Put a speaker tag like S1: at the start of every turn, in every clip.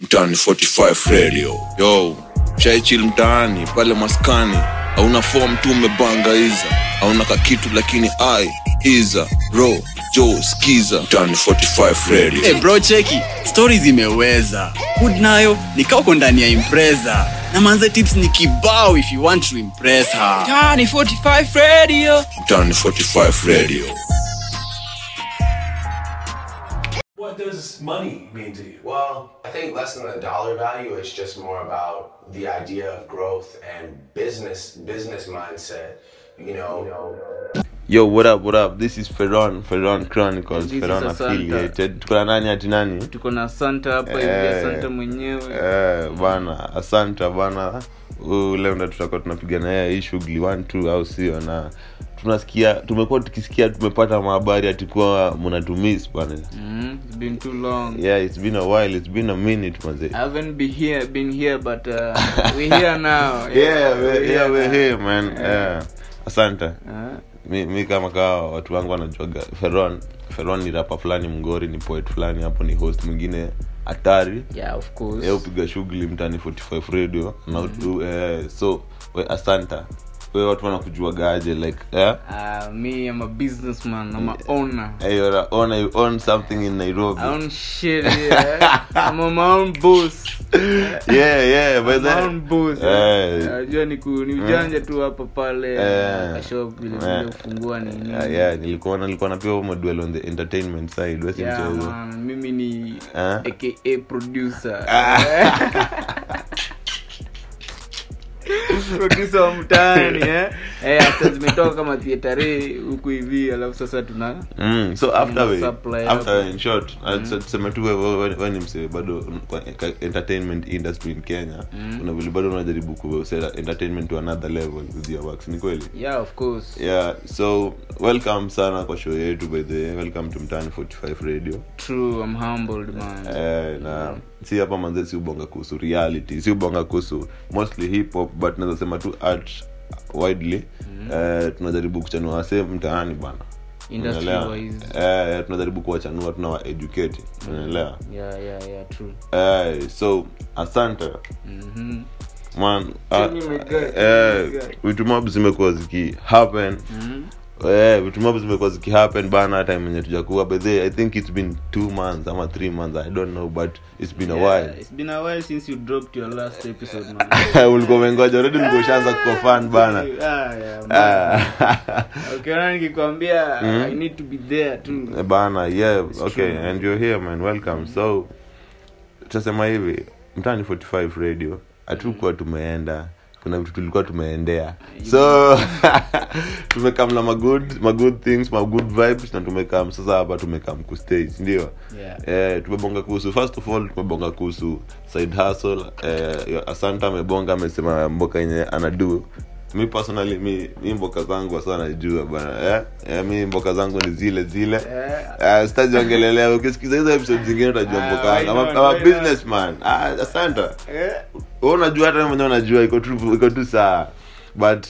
S1: mtaani 45 radio yo shaichil mtaani pale maskani hauna fom tu umebangaiza hauna kakitu lakini ai iza ro jo skiza mtaani 45 radio
S2: hey bro cheki stori zimeweza hood nayo nikauko ndani ya impreza na manze tips ni kibao if you want to impress her
S3: Tani 45 Radio.
S1: mtaani 45 radio
S4: What does money mean to you?
S5: Well, I think less than the dollar value, it's just more about the idea of growth and business business mindset. You know, you know
S6: yo what up what up this is ferron ferron chronicles
S7: This is
S6: ferron
S7: Asante.
S6: affiliated tukona nani ati nani
S7: tuko na santa hapa hivi
S6: Eh.
S7: ya santa mwenyewe
S6: eh, bana asanta bana Uh, leo ndo tutakuwa tunapigana yeye hii shughuli one two au sio na tunasikia tumekuwa tukisikia tumepata mahabari atikuwa mnatumis bana
S7: mm, it's been too long
S6: yeah it's been a while it's been a minute manze
S7: I haven't been here, been here, but uh, we're here now.
S6: yeah we're,
S7: we're
S6: yeah, we're
S7: now.
S6: here man yeah. asanta
S7: Ah,
S6: mi, mi kama kawa watu wangu wanajuaga feron feron ni rapa fulani mgori ni poet fulani hapo ni host mwingine hatari
S7: yeah, of course.
S6: e upiga shughuli mtani 45 radio na utu, eh, so we asanta we watu wanakujuagaje like eh?
S7: Ah, me, I'm a businessman. I'm a owner.
S6: Hey, you're a owner, you own something in nairobi
S7: I own shit. Yeah. I'm on my own boss.
S6: yeah yeah by
S7: My
S6: the
S7: own boss.
S6: Eh.
S7: Najua ni ku- ni ujanja tu hapa pale.
S6: Eh.
S7: na shop vile
S6: Eh.
S7: vile kufungua ni nini.
S6: yeah, yeah, nilikuwa nilikuwa napewa modwell on the entertainment side wesi
S7: Yeah,
S6: mchezo
S7: man, mimi ni
S6: Ah.
S7: aka producer producer wa mtaani eh? Eh, after zimetoka kama theatre huku hivi alafu sasa tuna
S6: Mm, so after we,
S7: supply
S6: after
S7: hapo.
S6: we, in short mm. tuseme tu wewe- wewe wewe ni msee bado kwa ka- entertainment industry in Kenya mm. una vile bado unajaribu ku set entertainment to another level with your works ni kweli
S7: yeah of course
S6: yeah so welcome sana kwa show yetu by the way welcome to mtaani 45 radio
S7: true i'm humbled man
S6: eh, na si hapa manze si ubonga kuhusu reality si ubonga kuhusu mostly hip hop but naweza sema tu art widely mm. eh, tunajaribu kuchanua wasee mtaani bana
S7: Industry
S6: Unaelewa?
S7: wise.
S6: eh, tunajaribu kuwachanua tunawaeducate unaelewa
S7: yeah yeah yeah true
S6: eh, so asante
S7: Mhm.
S6: man Ah,
S7: Tell me my guy, tell me my
S6: eh,
S7: guy.
S6: vitu mob zimekuwa ziki happen
S7: Mhm.
S6: Eh, vitu mob zimekuwa ziki happen bana time yenye tujakuwa by the way, i think it's been two months ama three months i don't know but it's been a
S7: Yeah,
S6: while
S7: it's been a while since you dropped your last episode man
S6: ulikuwa umengoja already ulikuwa ushaanza kuwa fan bana
S7: Ah, yeah, man.
S6: Ah. Mm-hmm.
S7: ukiona nikikwambia i need to be there tu
S6: Eh, bana yeah okay
S7: true.
S6: and you're here man welcome so tutasema hivi mtani 45 radio hatukuwa
S7: Mm-hmm.
S6: tumeenda kuna vitu tulikuwa tumeendea so tumekam na magood magood things magood vibes na tumekam sasa hapa tumekam kustage ndio
S7: yeah
S6: Eh, tumebonga kuhusu first of all tumebonga kuhusu side hustle eh, asanta amebonga amesema mboka yenye anadu mi personally mi, mi mboka zangu hasa najua bana eh? eh, mi mboka zangu ni zile zile eh. sitajiongelelea ukisikiza hizo episode zingine utajua
S7: Ah,
S6: mboka
S7: why
S6: yangu Ama-
S7: not,
S6: ama
S7: why not?
S6: businessman ah, asanta
S7: Eh.
S6: Wewe unajua hata wewe mwenyewe unajua iko tu iko tu saa but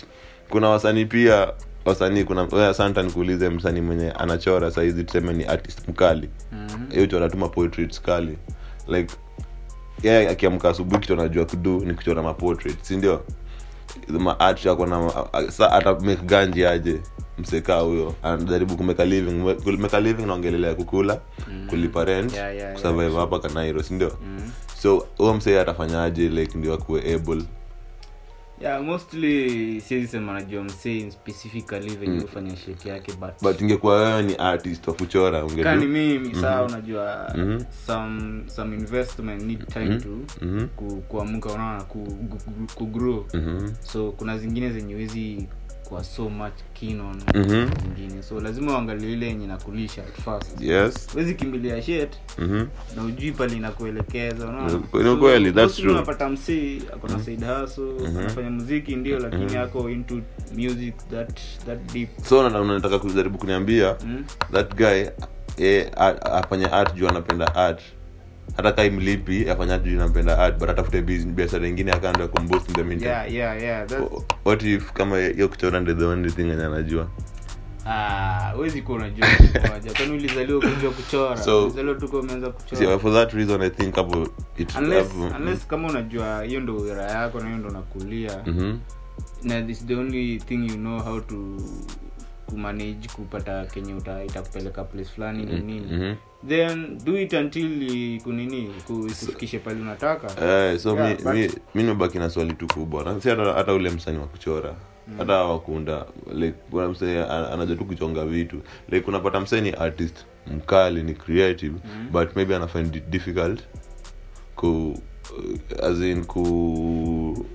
S6: kuna wasanii pia wasanii kuna wewe asante nikuulize msanii mwenye anachora saizi tuseme ni artist mkali mm-hmm. uchora tu maportraits kali like yeye akiamka asubuhi kitu anajua kudu ni kuchora maportrait si ndio maart ako na sa ata make ganji aje msekaa huyo anajaribu kumeka living Me- kumeka living naongelelea kukula kulipa rent
S7: Mm. Yeah, yeah, Mm. yeah.
S6: kusurvive hapa kanairo sindio so huyo msee atafanyaje like ndio akuwe able
S7: yeah mostly siwezi sema najua msee specifically venye hufanya shit yake but,
S6: but ingekuwa wewe ni artist wa kuchora ungedu-
S7: kani mimi saa unajua some some investment need time to ku, kuamuka unaona ku, ku, ku- ku grow
S6: Mm. Mhm.
S7: so kuna zingine zenye wezi kwa so much keen on
S6: Mm. Mhm.
S7: zingine so lazima uangalie ile yenye nakulisha at first
S6: yes
S7: wezi kimbilia shit
S6: Mhm.
S7: na ujui pale inakuelekeza
S6: Ni- ni kweli, that's true. Mm-hmm.
S7: unapata msii akona side hustle anafanya muziki ndio lakini ako into music that that deep
S6: so una- unataka kujaribu kuniambia
S7: Mm.
S6: that guy eh, a- afanye art juu anapenda art hata kai mlipi afanye art juu anapenda art but atafute bus- biashara ingine akaanza kumboost in the meantime Oh.
S7: yeah yeah yeah that's
S6: O- what if kama hiyo kuchora ndio the only thing yenye anajua
S7: Ah, huwezi kuwa unajua moja kwani ulizaliwa ukujua kuchora
S6: So-
S7: ulizaliwa tuko umeanza
S6: See,
S7: kuchora
S6: well, for that reason i think hapo it
S7: unless,
S6: hapo-
S7: unless kama unajua hiyo ndo wira yako na hiyo ndo nakulia
S6: Mhm.
S7: na this the only thing you know how to kumanage kupata kenye uta- itakupeleka place fulani ni nini
S6: mhm.
S7: then do it until i- kunini ku- ikufikishe pale unataka
S6: Eh, so
S7: Yeah,
S6: mi-
S7: but-
S6: mi- mi nimebaki na swali tu kubwa Na si hata, hata ule msanii wa kuchora
S7: Mm.
S6: hata wakunda like kuna msanii ana- anajua tu kuchonga vitu like unapata msanii artist mkali ni creative
S7: Mm.
S6: but maybe ana find it difficult ku as in ku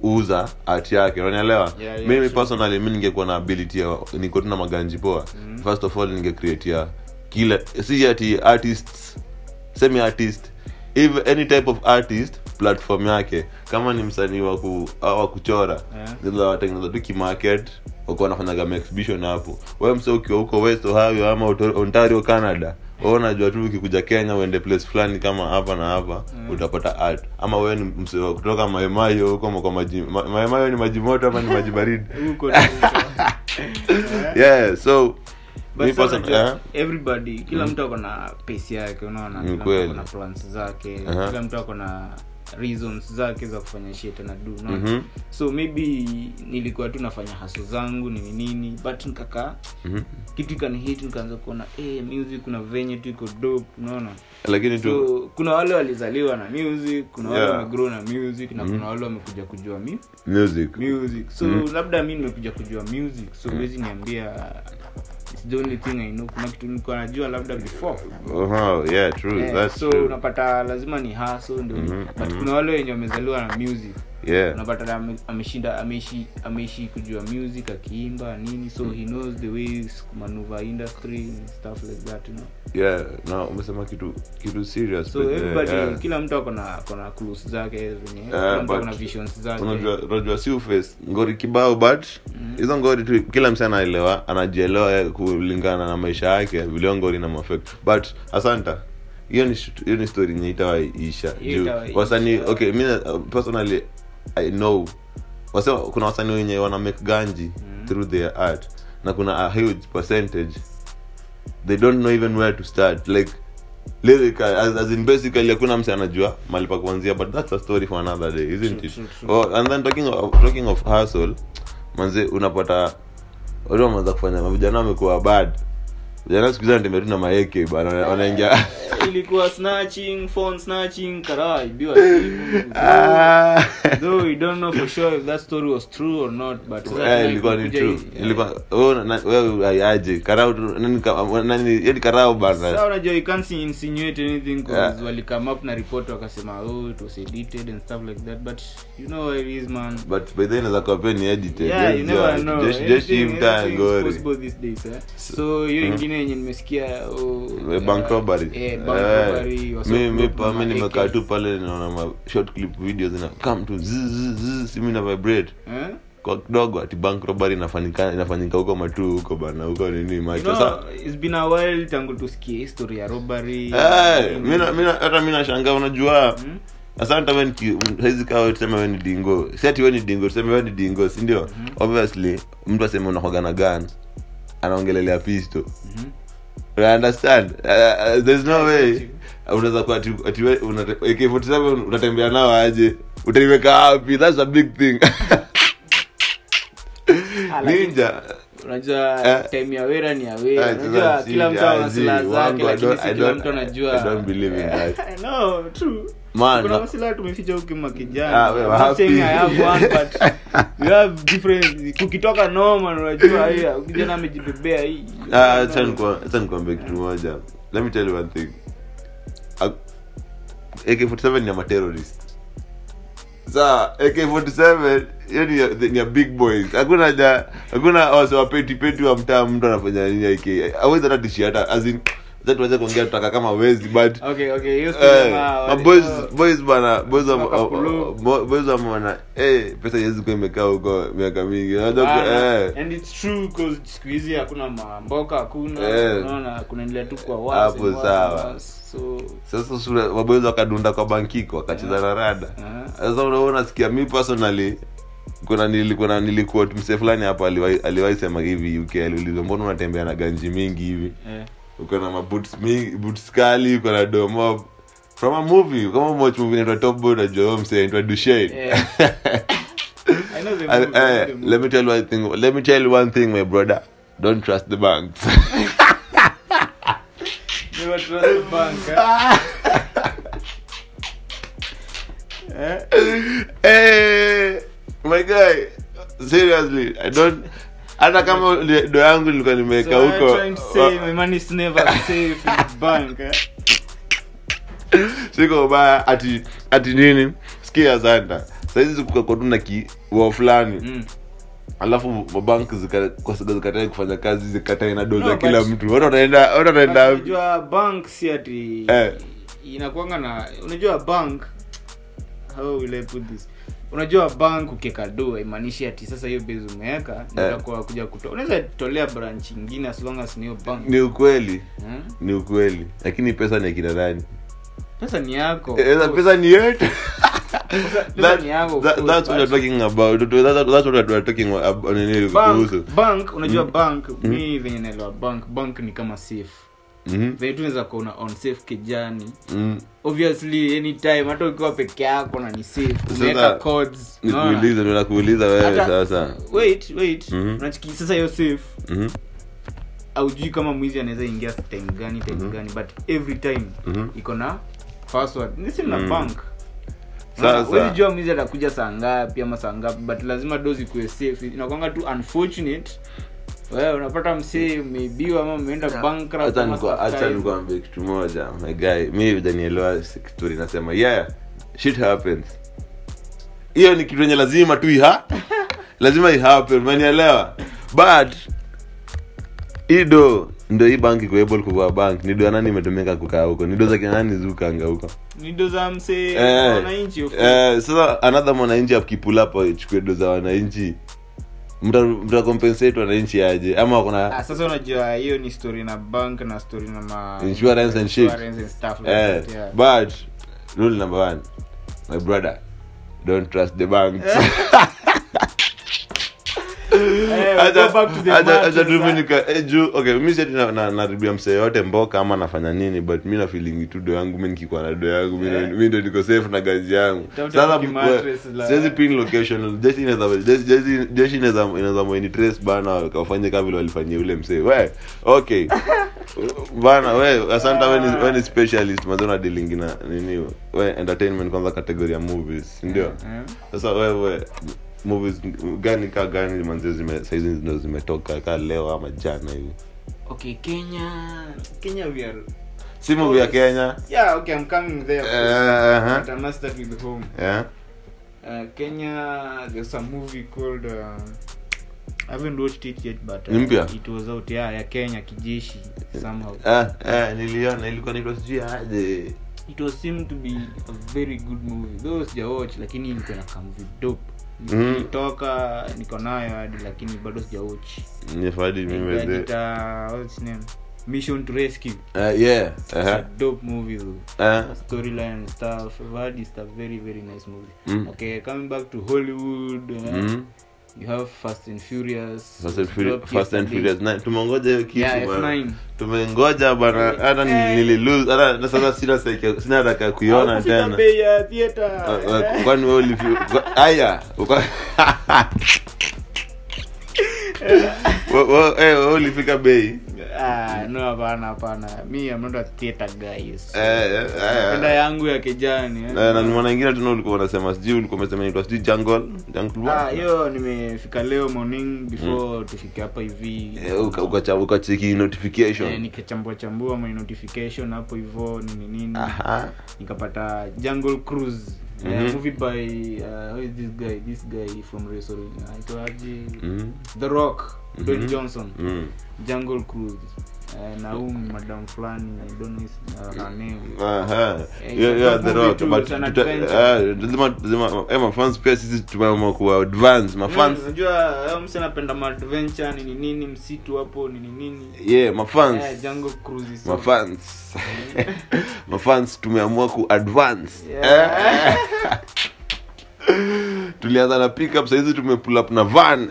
S6: kuuza art yake unanielewa
S7: Yeah, yeah,
S6: mimi
S7: sure.
S6: personally mi ningekuwa na ability ya niko tu na maganji poa
S7: Mm.
S6: first of all ningecreatia kila si ati artists semi artist if any type of artist platform yake kama ni msanii wa ku- au wa kuchora
S7: Yeah.
S6: yeah. watengeneza tu kimarket wakuwa wanafanyaga maexhibition hapo we mse ukiwa huko west ohio ama Oto- ontario canada wewe unajua tu ukikuja kenya uende place fulani kama hapa na hapa utapata art ama wewe ni mse wa kutoka maemayo huko ma- kwa maji ma- maemayo ni maji moto ama ni maji baridi
S7: huko na huko.
S6: yeah so
S7: But
S6: mi
S7: sasa
S6: person-
S7: unajua,
S6: eh? Mm.
S7: everybody kila mtu ako na pesi yake unaona
S6: Ni
S7: Kila mtu
S6: kweli. Uh-huh.
S7: ako na plans zake
S6: Aha.
S7: kila mtu ako na reasons zake za kufanya shit na do unaona?
S6: Mhm.
S7: so maybe nilikuwa tu nafanya haso zangu nini nini but nikakaa
S6: Mhm.
S7: kitu ikanihit nikaanza kuona eh music kuna venye tu iko dope unaona
S6: lakini tu
S7: so kuna wale walizaliwa na music kuna wale
S6: Yeah. Mm-hmm.
S7: wamegrow na music na kuna wale wamekuja kujua mi
S6: music
S7: music so
S6: Mm-hmm.
S7: labda mi nimekuja kujua music
S6: Mm.
S7: so huwezi niambia it's the only thing i know kuna kitu nilikuwa najua labda before
S6: Oh, yeah, true.
S7: Eh,
S6: That's
S7: so
S6: true. Mm-hmm,
S7: unapata lazima ni haso ndio but kuna wale wenye wamezaliwa na music
S6: Yeah.
S7: unapata ame- ameshinda ameishi ameishi kujua music akiimba nini so
S6: Mm.
S7: he knows the ways manuva industry and stuff like that you know
S6: yeah na umesema kitu kitu serious
S7: so
S6: but, eh,
S7: everybody
S6: yeah.
S7: kila mtu akona akona clues zake zenye
S6: Yeah,
S7: kila mtu
S6: but
S7: akona visions zake
S6: unajua unajua si uface ngori kibao but
S7: Mm.
S6: hizo ngori tu kila msi anaelewa anajielewa yeye kulingana na maisha yake vile ngori na mafek but asanta hiyo ni shit- hiyo ni story yenye itawaiisha
S7: Hiyo
S6: juu
S7: itawaiisha.
S6: wasanii okay mi uh, personally i know wasema kuna wasanii wenye wana make ganji
S7: Mm.
S6: through their art na kuna a huge percentage they don't know even where to start like lyrical as, as in basically hakuna mse anajua mahali pa kuanzia but that's a story for another day isn't
S7: True,
S6: it
S7: true, true.
S6: Oh, and then talking of, talking of hustle manze unapata watu wameanza kufanya vijana wamekuwa bad vijana siku hizi wanatembea tu na maeke bana wana- wanaingia
S7: ilikuwa snatching phone snatching karaa ibiwa simu. Eh.
S6: Ah.
S7: though we don't know for sure if that story was true or not but sasa
S6: Eh, ilikuwa ni
S7: tunakuja
S6: true
S7: hii-
S6: ilikuwa wewe na- wewe ai- aje karao tu- nani ka- nani yeye ni karao
S7: Sasa
S6: bana
S7: unajua you can't insinuate anything 'cause
S6: Yeah.
S7: wali come up na report wakasema oh it was edited and stuff like that but you know how it is man
S6: but by the way inaweza kuwa pia ni edited
S7: yeah you
S6: Yes,
S7: never
S6: yeah.
S7: know
S6: Just- just
S7: Anything-
S6: him time,
S7: anything is
S6: gori. Hmm.
S7: possible these days eh so hiyo ingine yenye nimesikia oh,
S6: Eh, bank
S7: eh,
S6: robbery.
S7: eh, bank robbery,
S6: Eh,
S7: wasa-
S6: mi- mi- pa- mi
S7: ma-
S6: nimekaa
S7: AK.
S6: tu pale naona ma short clip videos na come to zzz, zzz, simu ina vibrate
S7: Eh?
S6: kwa kidogo ati bank robbery inafanyika inafanyika huko matu huko bana huko nini
S7: You
S6: macho
S7: know,
S6: sa
S7: it's been a while tangu tusikie hii story ya robbery
S6: Eh, mi na- mi na- hata mi nashangaa unajua
S7: Hmm?
S6: asante we saizi kawa tuseme we ni dingo si ati we ni dingo tuseme we ni dingo sindio
S7: Hmm.
S6: obviously mtu aseme unakoga na gun anaongelelea pisto
S7: Hmm.
S6: I understand uh, uh, there's no way
S7: Hmm.
S6: unaweza kuwa ati- ati we- una- AK47 unatembea nao aje utaiweka wapi that's a big thing
S7: Lakini
S6: ninja
S7: unajua
S6: Eh.
S7: time ya wera ni ya wera
S6: Ah,
S7: unajua
S6: si-
S7: kila mtu
S6: ah,
S7: ana
S6: si,
S7: silaha
S6: wangu,
S7: zake
S6: I
S7: lakini
S6: don't-
S7: si
S6: I
S7: kila
S6: don't-
S7: mtu
S6: I don't
S7: anajua
S6: believe in that.
S7: no true
S6: Man,
S7: kuna
S6: no.
S7: masilaha tumeficha huku
S6: Ah, we were
S7: makijana
S6: happy.
S7: saying i have one but we have different kukitoka noma unajua hiyo kijana amejibebea hii
S6: Ah, acha nikwa- acha nikuambie kitu moja let me tell you one thing Ak- ak47 ni amaterorist saa ak47 hiyo ni ya- ni ya big boys hakuna ja hakuna wasewapetipeti wa mtaa mtu anafanya nini ak awezi hata tishi hata azin tuweze kuongea tutaka kama wezi but
S7: okay okay hiyo story
S6: Eh,
S7: ya-
S6: ma boys
S7: ah,
S6: boys bana boys wa-
S7: Waka
S6: wa-
S7: pull up.
S6: wa- boys wameona eh pesa iwezi kuwa imekaa huko miaka mingi Unajua ku-
S7: Bana,
S6: eh.
S7: and it's true 'cause siku hizi hakuna mamboka hakuna
S6: Eh.
S7: unaona kuna nilea tu kwa
S6: Hapo
S7: wazi
S6: sawa.
S7: so
S6: sasa sura wabwezi wakadunda kwa bankiko wakacheza na rada
S7: Ah.
S6: sasa unaona nasikia mi personally kuna nilikuna nilikuwa mse fulani hapa aliwahi aliwahi sema hivi uk aliulizwa mbona unatembea na ganji mingi hivi
S7: eh.
S6: uko na maboots mingi boots kali uko na domo from a movie kama umewatch movie inaitwa top boy unajua huyo mse anaitwa dushane
S7: Eh. I know the
S6: I-
S7: movie, I know the
S6: eh,
S7: movie.
S6: let me tell you one thing let me tell you one thing my brother don't trust the banks
S7: Never trust the bank, eh. Eh?
S6: Eh, my guy seriously i don't hata kama uli- do yangu nilikuwa nimeweka
S7: So I'm
S6: huko
S7: trying to say my money is never safe in the bank, eh.
S6: siko ubaya ati ati nini sikia santa saizi kukakwa tu na kiwao fulani
S7: Mm.
S6: alafu mabanki zikatae kufanya kazi zikatae na do za
S7: No, but-
S6: kila mtu watu wataenda watu wataenda
S7: unajua bank si ati
S6: um, Eh.
S7: inakuanga na unajua bank how will I put this unajua bank ukiweka do haimaanishi ati sasa hiyo base umeweka ndio
S6: Eh.
S7: utakuwa kuja kutoa unaweza tolea branch nyingine as long as ni hiyo bank
S6: ni ukweli
S7: Hmm?
S6: ni ukweli lakini pesa ni akina nani
S7: pesa ni yako
S6: Eh,
S7: of
S6: eh,
S7: course.
S6: pesa ni yetu
S7: pesa
S6: That-
S7: ni yako of
S6: that-
S7: course,
S6: that's what we're
S7: but-
S6: talking about That- that- that's what we're talking about- nini
S7: bank,
S6: kuhusu Mm.
S7: bank unajua bank mi venye naelewa bank bank ni kama safe
S6: Mhm,
S7: venye tunaweza kuona on safe kijani
S6: mhm.
S7: obviously anytime hata ukiwa peke yako na ni safe
S6: Sasa,
S7: umeweka codes unaona?
S6: nikuulize ndo nakuuliza wewe
S7: Hata-
S6: sasa
S7: wait wait
S6: Mhm.
S7: unachiki sasa hiyo safe
S6: Mhm,
S7: aujui kama mwizi anaweza ingia time gani time gani but every time
S6: Mhm. Mm.
S7: iko na password nisi na bank
S6: Sasa-
S7: Huwezi jua mwizi atakuja saa ngapi ama saa ngapi but lazima dozi kuwe safe inakwanga tu unfortunate wewe unapata msee umeibiwa ama umeenda bankrupt
S6: Acha
S7: ama
S6: nikuwa-
S7: stuff
S6: acha
S7: like-
S6: nikuambie kitu moja my guy mi ujanielewa kitu inasema yeah shit happens hiyo ni kitu yenye lazima tu iha lazima ihappen umenielewa but ido ndo hii banki kuable kukua bank nido ya nani imetumika kukaa huko nido za kina nani zukanga huko
S7: ni do za msee
S6: Eh,
S7: wananchi of course.
S6: eh, sasa anadha mwananchi akipulapo ichukue do za wananchi mta- mtakompensate wananchi aje ama eh,
S7: Ah,
S6: wakona
S7: sasa unajua hiyo ni story na bank na story na ma
S6: Insurance and shit.
S7: insurance and stuff like
S6: eh,
S7: that, yeah.
S6: but rule number one my brother don't trust the banks
S7: Eh, we
S6: Acha-
S7: go back to the
S6: acha-
S7: matter,
S6: acha tu
S7: sir.
S6: mi nika- eh, juu- okay, mi siati na- na- naribia msee yote mboka ama nafanya nini but mi nafilingi tu do yangu mi nikikuwa na do yangu mi
S7: Eh.
S6: ndo- mi ndo niko safe na gazi yangu
S7: Tafuta
S6: sasa
S7: kimattress
S6: mkwe-
S7: la-
S6: siwezi pin location jeshi inaweza- jeshi- jeshi- jeshi inaweza inaweza mweni trace bana wakafanye kama vile walifanyia ule msee we okay bana we asanta we ni, we ni specialist mazona dealing na nini we entertainment kwanza category ya movies ndio
S7: Eh.
S6: sasa wewe movies gani ka gani manzio zime saizi ndo zimetoka ka leo ama jana hivi
S7: okay kenya kenya we are
S6: si movie ya kenya
S7: yeah okay i'm coming there
S6: Eh,
S7: but
S6: huh?
S7: i must start with home
S6: yeah
S7: uh, kenya there's a movie called uh, i haven't watched it yet but uh,
S6: Ni mpya?
S7: it was out yeah ya kenya kijeshi somehow
S6: ah eh niliona ilikuwa naitwa sijui aje
S7: it was seemed to be a very good movie though sijawatch lakini ilikuwa na kamvi dope
S6: Mhm.
S7: nilitoka niko nayo hadi lakini bado sijawatch
S6: nifadi mimi the
S7: Inajiita, what's its name mission to rescue
S6: uh, yeah
S7: It's a
S6: eh
S7: dope movie though
S6: eh
S7: storyline and stuff but it's a very very nice movie
S6: Mm.
S7: okay coming back to hollywood uh,
S6: Mm.
S7: you have fast and furious
S6: Fast and
S7: which
S6: Furious-
S7: dropped
S6: Fast and
S7: yesterday.
S6: Furious nine. tumengoja hiyo kitu
S7: Yeah, Eh.
S6: bwana.
S7: F9.
S6: tumengoja bana hata ni- nililose hata na sasa sina seke- sina haraka kuiona
S7: Haukufika
S6: tena
S7: bei Ah, ya theater,
S6: Ah, ah,
S7: eh?
S6: kwani wewe ulivyo haya uka- Wewe- wewe- eh, wewe ulifika bei
S7: Ah, no hapana hapana mi I'm not a theater guy yes.
S6: Eh, eh, eh,
S7: Napenda yangu ya kijani eh.
S6: Eh, na ni mwana ingine tena ulikuwa unasema sijui ulikuwa umesema inaitwa sijui jungle jungle
S7: Ah,
S6: what?
S7: hiyo nimefika leo morning before tufike hapa hivi
S6: Mm. Eh, uka- ukacha- ukacheki notification
S7: Eh, nikachambua chambua my notification hapo hivo nini nini
S6: Aha.
S7: nikapata jungle cruise eh,
S6: Mhm.
S7: movie by uh, who is this guy this guy from Resor aitwaji
S6: Mhm.
S7: The Rock Dwayne Johnson
S6: Mm.
S7: jungle cruise eh, na huyu madam fulani I don't know his- uh, her name
S6: Aha.
S7: Eh,
S6: Yeah,
S7: it's a
S6: yeah, the
S7: movie
S6: rock,
S7: too,
S6: but
S7: it's an
S6: tuta-
S7: adventure.
S6: eh, lazima- lazima- eh, mafans pia sisi tumeamua kuwa advance mafans
S7: Mm, unajua eh, mse anapenda maadventure nini nini msitu hapo nini nini
S6: yeah mafans
S7: eh, jungle cruise is so-
S6: mafans mafans tumeamua ku advance
S7: Yeah.
S6: Eh. tulianza na pickup sahizi tumepull up na van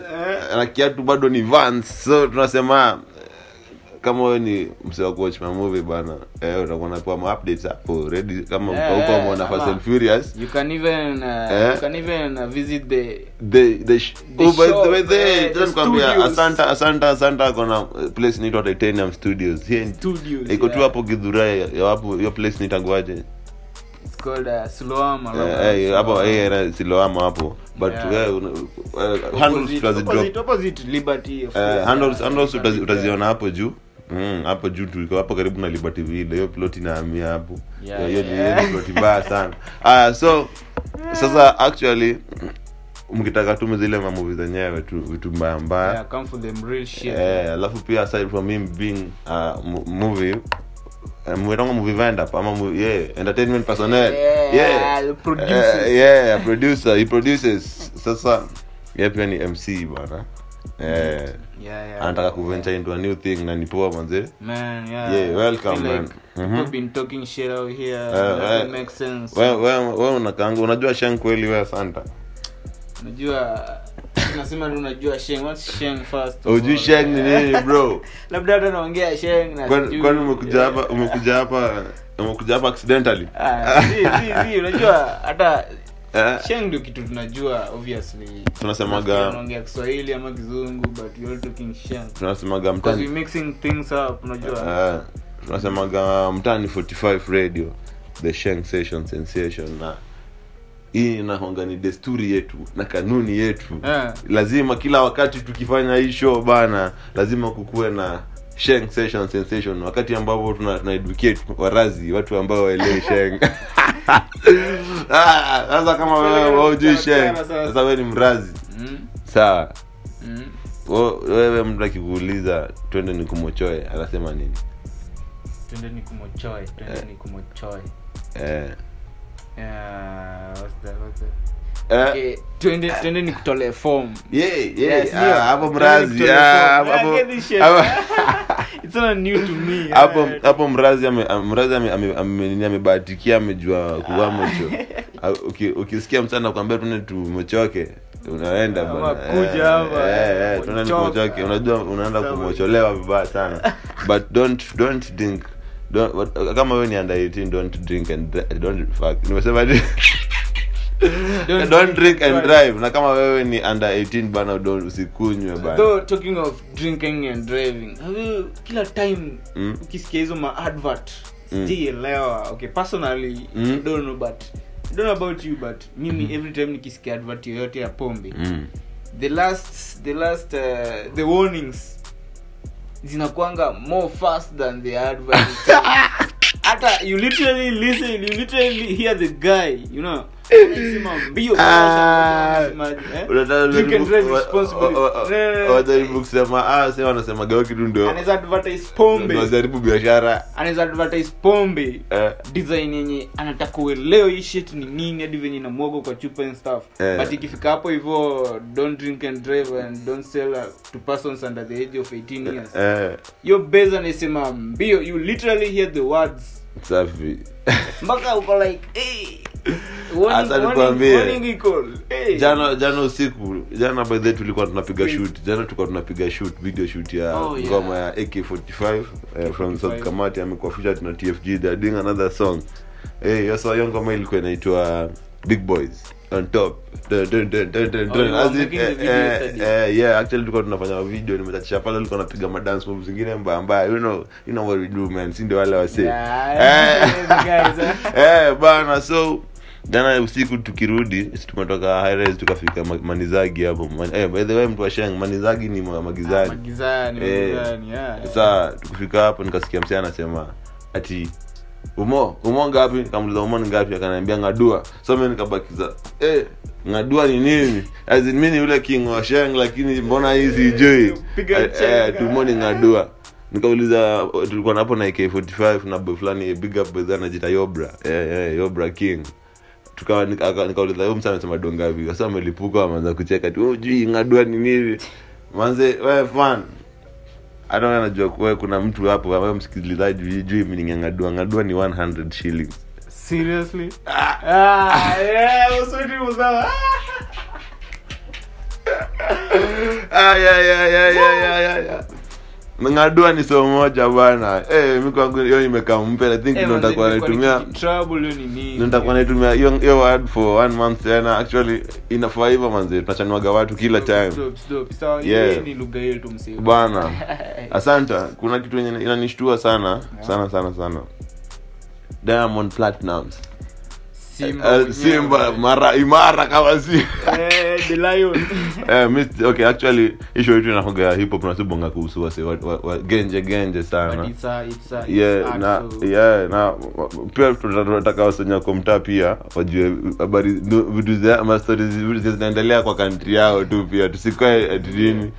S6: na kiatu bado ni vans so tunasema eh, kama wewe ni msee wa kuwatch my movie bana eh, utakuwa unapewa ma updates hapo ready kama
S7: Eh,
S6: yeah,
S7: eh,
S6: umeona Fast
S7: ama-
S6: and Furious
S7: you can even uh,
S6: Eh?
S7: you can even uh, visit the
S6: they they sh-
S7: The
S6: oh, by
S7: shop,
S6: the way they
S7: eh,
S6: tena
S7: the
S6: nikwambia
S7: studios.
S6: asanta asanta asanta kona place inaitwa Titanium Studios here
S7: studios
S6: iko tu
S7: yeah.
S6: hapo Githurai ya wapo hiyo place nitakuaje
S7: it's called uh, Siloam
S6: Eh,
S7: Araba,
S6: eh,
S7: Siloam.
S6: hapo eh, eh, siloama hapo but
S7: Yeah.
S6: eh, una- eh, handles
S7: Opposite-
S6: tutazidrop
S7: opposite- opposite Liberty, of
S6: Eh,
S7: course,
S6: handles-
S7: yeah.
S6: handles utazi- utaziona hapo juu Mm, hapo juu tuko hapo karibu na liberty vile hiyo plot inahamia hapo
S7: Yeah.
S6: Eh, hiyo ni- hiyo
S7: Yeah.
S6: ni plot mbaya sana ah so sasa actually mkitaka tume zile mamuvi zenyewe tu vitu mbaya mbaya
S7: Yeah, come for them real shit.
S6: eh alafu pia aside from him being a mu- movie eh, mwetongo movie vendor pa, ama movie, yeah, entertainment personnel
S7: Yeah, the producers.
S6: Eh, yeah producer he produces sasa yeye pia ni mc bana eh
S7: Yeah, yeah.
S6: anataka kuventure into a new thing na nipoa manze
S7: Man, yeah.
S6: Yeah, welcome,
S7: I feel
S6: man. Mm-hmm. Mhm.
S7: Like People been talking shit out here.
S6: Eh,
S7: doesn't
S6: eh.
S7: make sense.
S6: we we- we unakaanga unajua shang kweli we santa
S7: Unajua nasema tu unajua Sheng. What's Sheng first? of
S6: ujui
S7: all?
S6: shang ni nini bro
S7: Labda hata naongea Sheng na
S6: kwani
S7: sijui-
S6: kwani umekuja
S7: Yeah.
S6: hapa umekuja hapa umekuja hapa accidentally
S7: Ah, si, si, si, unajua hata
S6: Eh,
S7: Sheng ndio kitu tunajua obviously.
S6: Tunasemaga-
S7: tunaongea Kiswahili ama Kizungu but we all talking Sheng.
S6: tunasemaga
S7: Because we
S6: mtani
S7: mixing things up, unajua.
S6: eh, tunasemaga mtani 45 radio the shang session sensation na hii inaonga ni desturi yetu na kanuni yetu
S7: Eh.
S6: lazima kila wakati tukifanya hii show bana lazima kukuwe na sheng session sensation wakati ambapo tuna, tuna educate warazi watu ambao waelewe sheng Ah, sasa kama wewe waujui sheng sasa wewe ni mrazi
S7: Mm,
S6: sawa
S7: mm.
S6: Wo- wewe mtu akikuuliza twende ni kumochoe anasema nini
S7: twendeni kumochoe twendeni kumochoe
S6: eh.
S7: Yeah, what's that, what's that?
S6: Eh,
S7: Okay, twende twende nikutolee form
S6: yeah, yeah,
S7: Yes, ndio.
S6: ah, hapo
S7: Twende
S6: mrazi
S7: nikutolee
S6: ah,
S7: form.
S6: hapo-
S7: Ah, get this shit.
S6: hapo-
S7: It's not new to me
S6: hapo
S7: eh.
S6: hapo mrazi ame- am- mrazi ame- ame- ame- nini, amebahatikia amejua kuwa mocho Ah, uki- ukisikia mchana kuambia tuende tumochoke unaenda
S7: Ama
S6: bwana.
S7: kuja
S6: Eh,
S7: Ah, hapa,
S6: eh, eh, tuende
S7: mochoka.
S6: tumochoke unajua unaenda
S7: Sawa.
S6: kumocholewa vibaya sana but don't don't drink Don't- what- kama wewe ni under 18 don't drink and dri- don't fuck nimesema ni-
S7: Don't
S6: don't drink and
S7: drive.
S6: drive na kama wewe ni under 18 bana don't usikunywe bana
S7: Though, talking of drinking and driving have you- kila time
S6: Mm.
S7: ukisikia hizo maadvert
S6: Mm.
S7: sijielewa okay personally
S6: Mm.
S7: I don't know but I don't know about you but mimi every time nikisikia advert yoyote ya pombe
S6: Mm.
S7: the last the last uh, the warnings zinakwanga more fast than the advert hata you literally listen you literally hear the guy you know anasema mbio
S6: Ah.
S7: anasemaje, eh?
S6: Unataka
S7: Drink and drive
S6: wa- wa-
S7: responsibly.
S6: wa- wa-
S7: No, no, no.
S6: wajaribu kusema ah sema wanasema gawa kitu ndio
S7: anaweza advertise pombe
S6: ndio wajaribu biashara
S7: anaweza advertise pombe
S6: Eh.
S7: design yenye anataka uelewe hii shit ni nini hadi venye inamwagwa kwa chupa and stuff
S6: Eh.
S7: but ikifika hapo hivyo don't drink and drive and don't sell uh, to persons under the age of 18 years
S6: Eh,
S7: yo base anasema mbio you literally hear the words
S6: safi
S7: mpaka uko like hey, warning,
S6: Acha
S7: warning,
S6: nikwambie.
S7: warning iko, hey. Ah,
S6: jana jana usiku jana by the way tulikuwa tunapiga shoot jana tulikuwa tunapiga shoot video shoot ya
S7: Oh, yeah.
S6: ngoma ya AK45 eh, from South
S7: 45.
S6: Kamati amekuwa featured na TFG they are doing another song eh hey, sasa hiyo ngoma ilikuwa inaitwa Big Boys on top Dun, dun, dun, dun, dun,
S7: Oh,
S6: dun.
S7: you
S6: As
S7: were
S6: it,
S7: making the
S6: eh,
S7: video
S6: eh,
S7: yesterday.
S6: eh, yeah actually tulikuwa tunafanya video nimechatisha pale tulikuwa napiga ma dance moves zingine mbaya mbaya you know you know what we do man si ndio wale wase
S7: Yeah, guys, eh.
S6: eh bana so jana usiku tukirudi si tumetoka high rise tukafika Ma- manizagi hapo Man, eh, by the way mtu wa sheng manizagi ni ma- magizani
S7: Magizani,
S6: Eh.
S7: magizani, yeah.
S6: saa tukifika hapo nikasikia msee anasema ati umo umo ngapi nikamuliza umo ni ngapi akaniambia ngadua so mi nikabakiza eh, ngadua ni nini As in, mi ni yule king wa sheng lakini mbona hii sijui
S7: Piga
S6: Eh, eh,
S7: chenga.
S6: tumo ni ngadua nikauliza oh, tulikuwa napo na ak45 na boy fulani eh, big up bedha anajita yobra eh, eh, yobra king tukawa nika- aka- nikauliza huyu msa amesema dongavi sasa amelipuka wameanza kucheka tu "Oh, jui ngadua ni nini manze we fan hata wewe najua kuwe kuna mtu hapo ambaye msikilizaji hujui mimi ni ngadua ngadua ni 100 shillings
S7: Ah, seriously ah, yeah, usudi uzawa.
S6: Ay, ay, ay, ay, ay, ay, ay, ay. ng'adua ni somo moja bana hey, mi kwangu hiyo imekaa mpya i
S7: Eh,
S6: think ndo nitakuwa naitumia ndo nitakuwa naitumia hiyo hiyo word for one month tena actually ina forever manze tunachanuaga watu kila time Yeah. bana
S7: Eh,
S6: asanta kuna kitu yenye inanishtua sana sana sana sana diamond platinums Eh, simba mara imara kama si Eh, mis- okay actually isho yetu inakoga hip hop nasibonga kuhusu wase wa, wa, wa, genje genje sana yeah na yeah na pia tunataka wasenya wako mtaa pia wajue habari nu- vitu za ma stories vitu zenye zinaendelea kwa country yao tu pia tusikae ati nini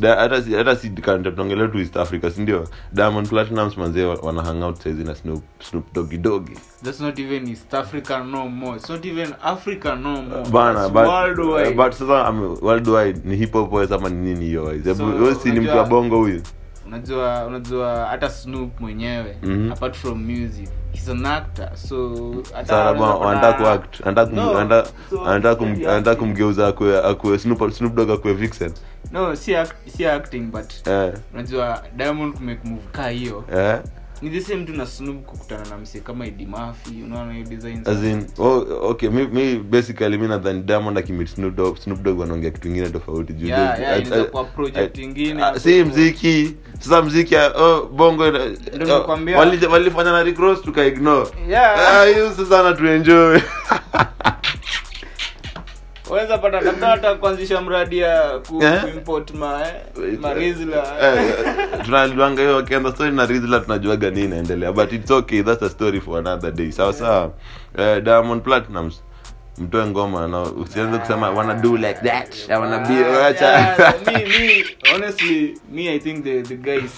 S6: Da- hata si hata si country tunaongelea tu East Africa si ndio Diamond Platnumz manzee wa- wana hang out saizi na Snoop Snoop Doggy Doggy
S7: That's not even East Africa no more. It's not even Africa no more.
S6: bana
S7: Oh, That's
S6: but,
S7: worldwide.
S6: but sasa ame- worldwide ni hip hop voice ama ni nini hiyo wise hebu
S7: So,
S6: wewe si ni mtu wa
S7: unajua-
S6: bongo huyu
S7: unajua unajua hata snoop mwenyewe
S6: Mhm.
S7: apart from music he's an actor so hata
S6: Sasa
S7: unaweza
S6: bwana,
S7: kuona-
S6: anataka kuact, anataka kum-
S7: No,
S6: anataka-
S7: so
S6: anataka kum-
S7: si
S6: anataka
S7: acting.
S6: kumgeuza akue akue Snoop Snoop Dogg akue vixen
S7: no si act- si acting but
S6: eh
S7: unajua diamond kumekumuvu kaa hiyo
S6: eh
S7: ni the same tu na snoop kukutana na msee kama idimafi unaona hiyo design
S6: as in oh, okay mi, mi basically mi nadhani Diamond akimit Snoop Dogg Snoop Dogg wanaongea kitu kingine tofauti juu
S7: Yeah,
S6: those-
S7: yeah,
S6: I-
S7: inaweza
S6: I-
S7: kuwa project
S6: I-
S7: ingine
S6: ah,
S7: hapo.
S6: si mziki sasa mziki ah, oh, bongo ina- ah,
S7: nimekwambia.
S6: wali- walifanya na Rick Ross tuka ignore
S7: Yeah.
S6: ah hiyo sasa na tuenjoy
S7: unaweza pata labda hata kuanzisha mradi ya ku,
S6: Eh?
S7: kuimport ma
S6: Wait,
S7: marizla
S6: eh, eh, tunaliwanga hiyo wakianza story na rizla tunajuaga nini inaendelea but its okay thats a story for another day sawa sawa eh, diamond platinums mtoe ngoma na usianze kusema "I wanna do like that I wanna be wacha
S7: Ah, Yeah, me, me, honestly, me, I think the, the guys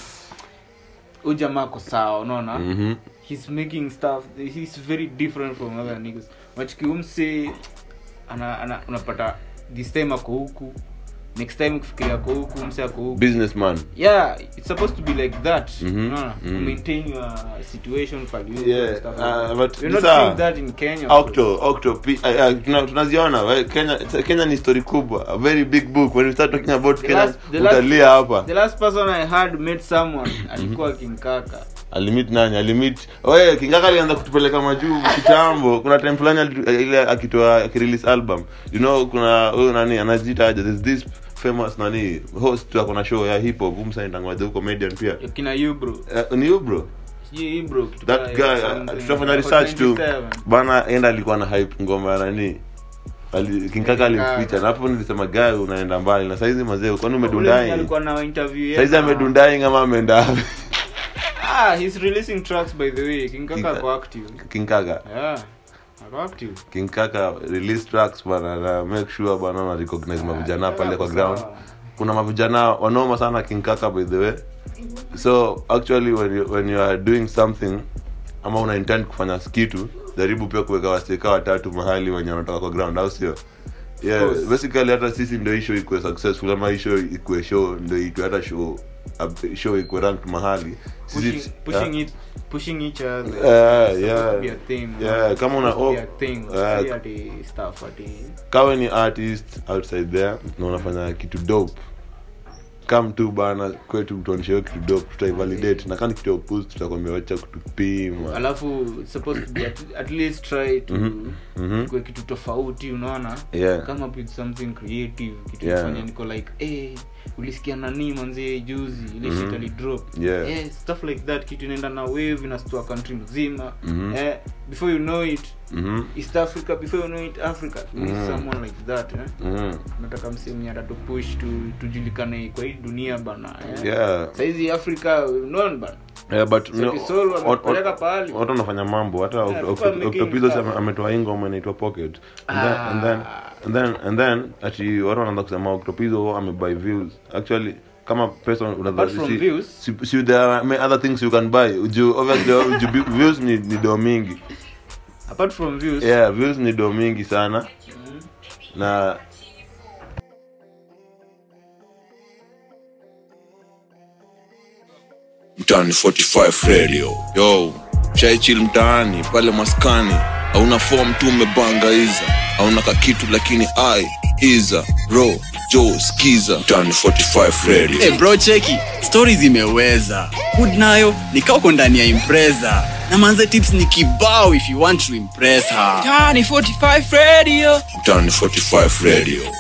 S7: ujamaa ako sawa unaona
S6: Mhm.
S7: he's making stuff he's very different from other niggas machikiumse ana, ana, unapata this time ako huku next time kufikiria ako huku mse ako huku
S6: businessman
S7: yeah it's supposed to be like that
S6: Mhm,
S7: unaona
S6: mhm.
S7: to maintain your situation for you
S6: Yeah,
S7: and stuff
S6: uh,
S7: like
S6: but
S7: that. you're not
S6: sasa-
S7: seeing that in Kenya of course.
S6: octo octo pi- ah, ah, tuna- tunaziona we- kenya kenya ni story kubwa a very big book when we start talking about
S7: The
S6: kenya
S7: last- the last-
S6: utalia hapa
S7: the last person i had met someone
S6: Mm-hmm.
S7: alikuwa kinkaka
S6: alimit nani alimit oye kingaka alianza kutupeleka majuu kitambo kuna time fulani ali- ile akitoa akirelease album you know kuna huyo nani anajiita aje there's this famous nani host ako na show ya hip hop humsanitangaza comedian pia
S7: kina you bro
S6: Uh, ni you bro
S7: Sijui hii bro, kitu
S6: that
S7: kama
S6: guy
S7: hiyo,
S6: uh,
S7: something.
S6: tutafanya
S7: Ako
S6: research tu
S7: 27.
S6: bana enda alikuwa na hype ngoma ya nani Ali- kinkaka alimficha na hapo nilisema guy unaenda mbali na saizi mazee kwani
S7: Ule mwenye
S6: umedundaing
S7: alikuwa na interview yeye
S6: saizi
S7: na-
S6: amedundaing ama ameenda wapi?
S7: Ah, he's releasing tracks by the way. King Kaka
S6: Kinga-
S7: ako active.
S6: kinkaka
S7: Yeah. Ako active.
S6: King Kaka release tracks bana na make sure bana na recognize mavijana
S7: Kaka
S6: pale kwa
S7: ako
S6: ground.
S7: sawa.
S6: Kuna mavijana wanoma sana King Kaka by the way. So actually when you, when you are doing something ama una intend kufanya kitu jaribu pia kuweka waseka watatu mahali wenye wanatoka kwa ground au sio? Yeah,
S7: course.
S6: basically hata sisi ndio issue ikuwe successful ama issue ikuwe show ndio ikuwe hata show ab- show ikuwe ranked mahali.
S7: Pushing-
S6: yeah. Uh,
S7: pushing it- pushing each other.
S6: Yeah,
S7: It's
S6: yeah.
S7: supposed to be a thing,
S6: Yeah,
S7: man.
S6: kama una-
S7: Supposed to be
S6: oh,
S7: a thing,
S6: yeah.
S7: si ati stuff, ati-
S6: kawe ni artist outside there na unafanya kitu dope kam tu bana kwetu tuonyesheo kitu dope tutaivalidate na kani kitu ya upuzi tutakwambia wacha kutupima
S7: alafu it's supposed to be at- at least try to-
S6: Mhm,
S7: kuwe kitu tofauti unaona
S6: Mm-hmm. Yeah.
S7: come up with something creative kitu
S6: Yeah.
S7: kufanya niko like hey, ulisikia nani manzie juzi ile shit ali drop
S6: Mm-hmm. Yeah.
S7: Eh, stuff like that kitu inaenda na wave inastua country mzima
S6: Mm-hmm.
S7: eh, before you know it
S6: mhm,
S7: east africa before you know it africa we need
S6: Mm-hmm.
S7: someone like that eh?
S6: mhm.
S7: nataka msehemu atatu push tu, tujulikane kwa hii dunia bana eh?
S6: Yeah.
S7: saizi africa non bana Soul wamepeleka pahali.
S6: watu wanafanya mambo hata
S7: people are making Ah.
S6: octopizos
S7: stuff.
S6: ametoa hii ngoma inaitwa pocket And then- and then- and then- and then ati watu wanaanza kusema octopizo amebuy views actually kama pesa unaweza-
S7: Apart from
S6: si-
S7: views.
S6: si- si- there are many other things you can buy Ju- obviously ju- views ni ni doo mingi
S7: apart from views
S6: yeah views ni do mingi sana
S7: Mm-hmm.
S6: na
S1: mtaani 45 radio yo shaichil mtaani pale maskani hauna fom tu umebangaiza hauna kakitu lakini i iza ro jo skiza mtani 45 radio
S2: hey bro cheki stori zimeweza hood nayo nikako ndani ya impreza na manze tips ni kibao if you want to impress her
S3: Tiny 45 Radio.
S1: mtani 45 radio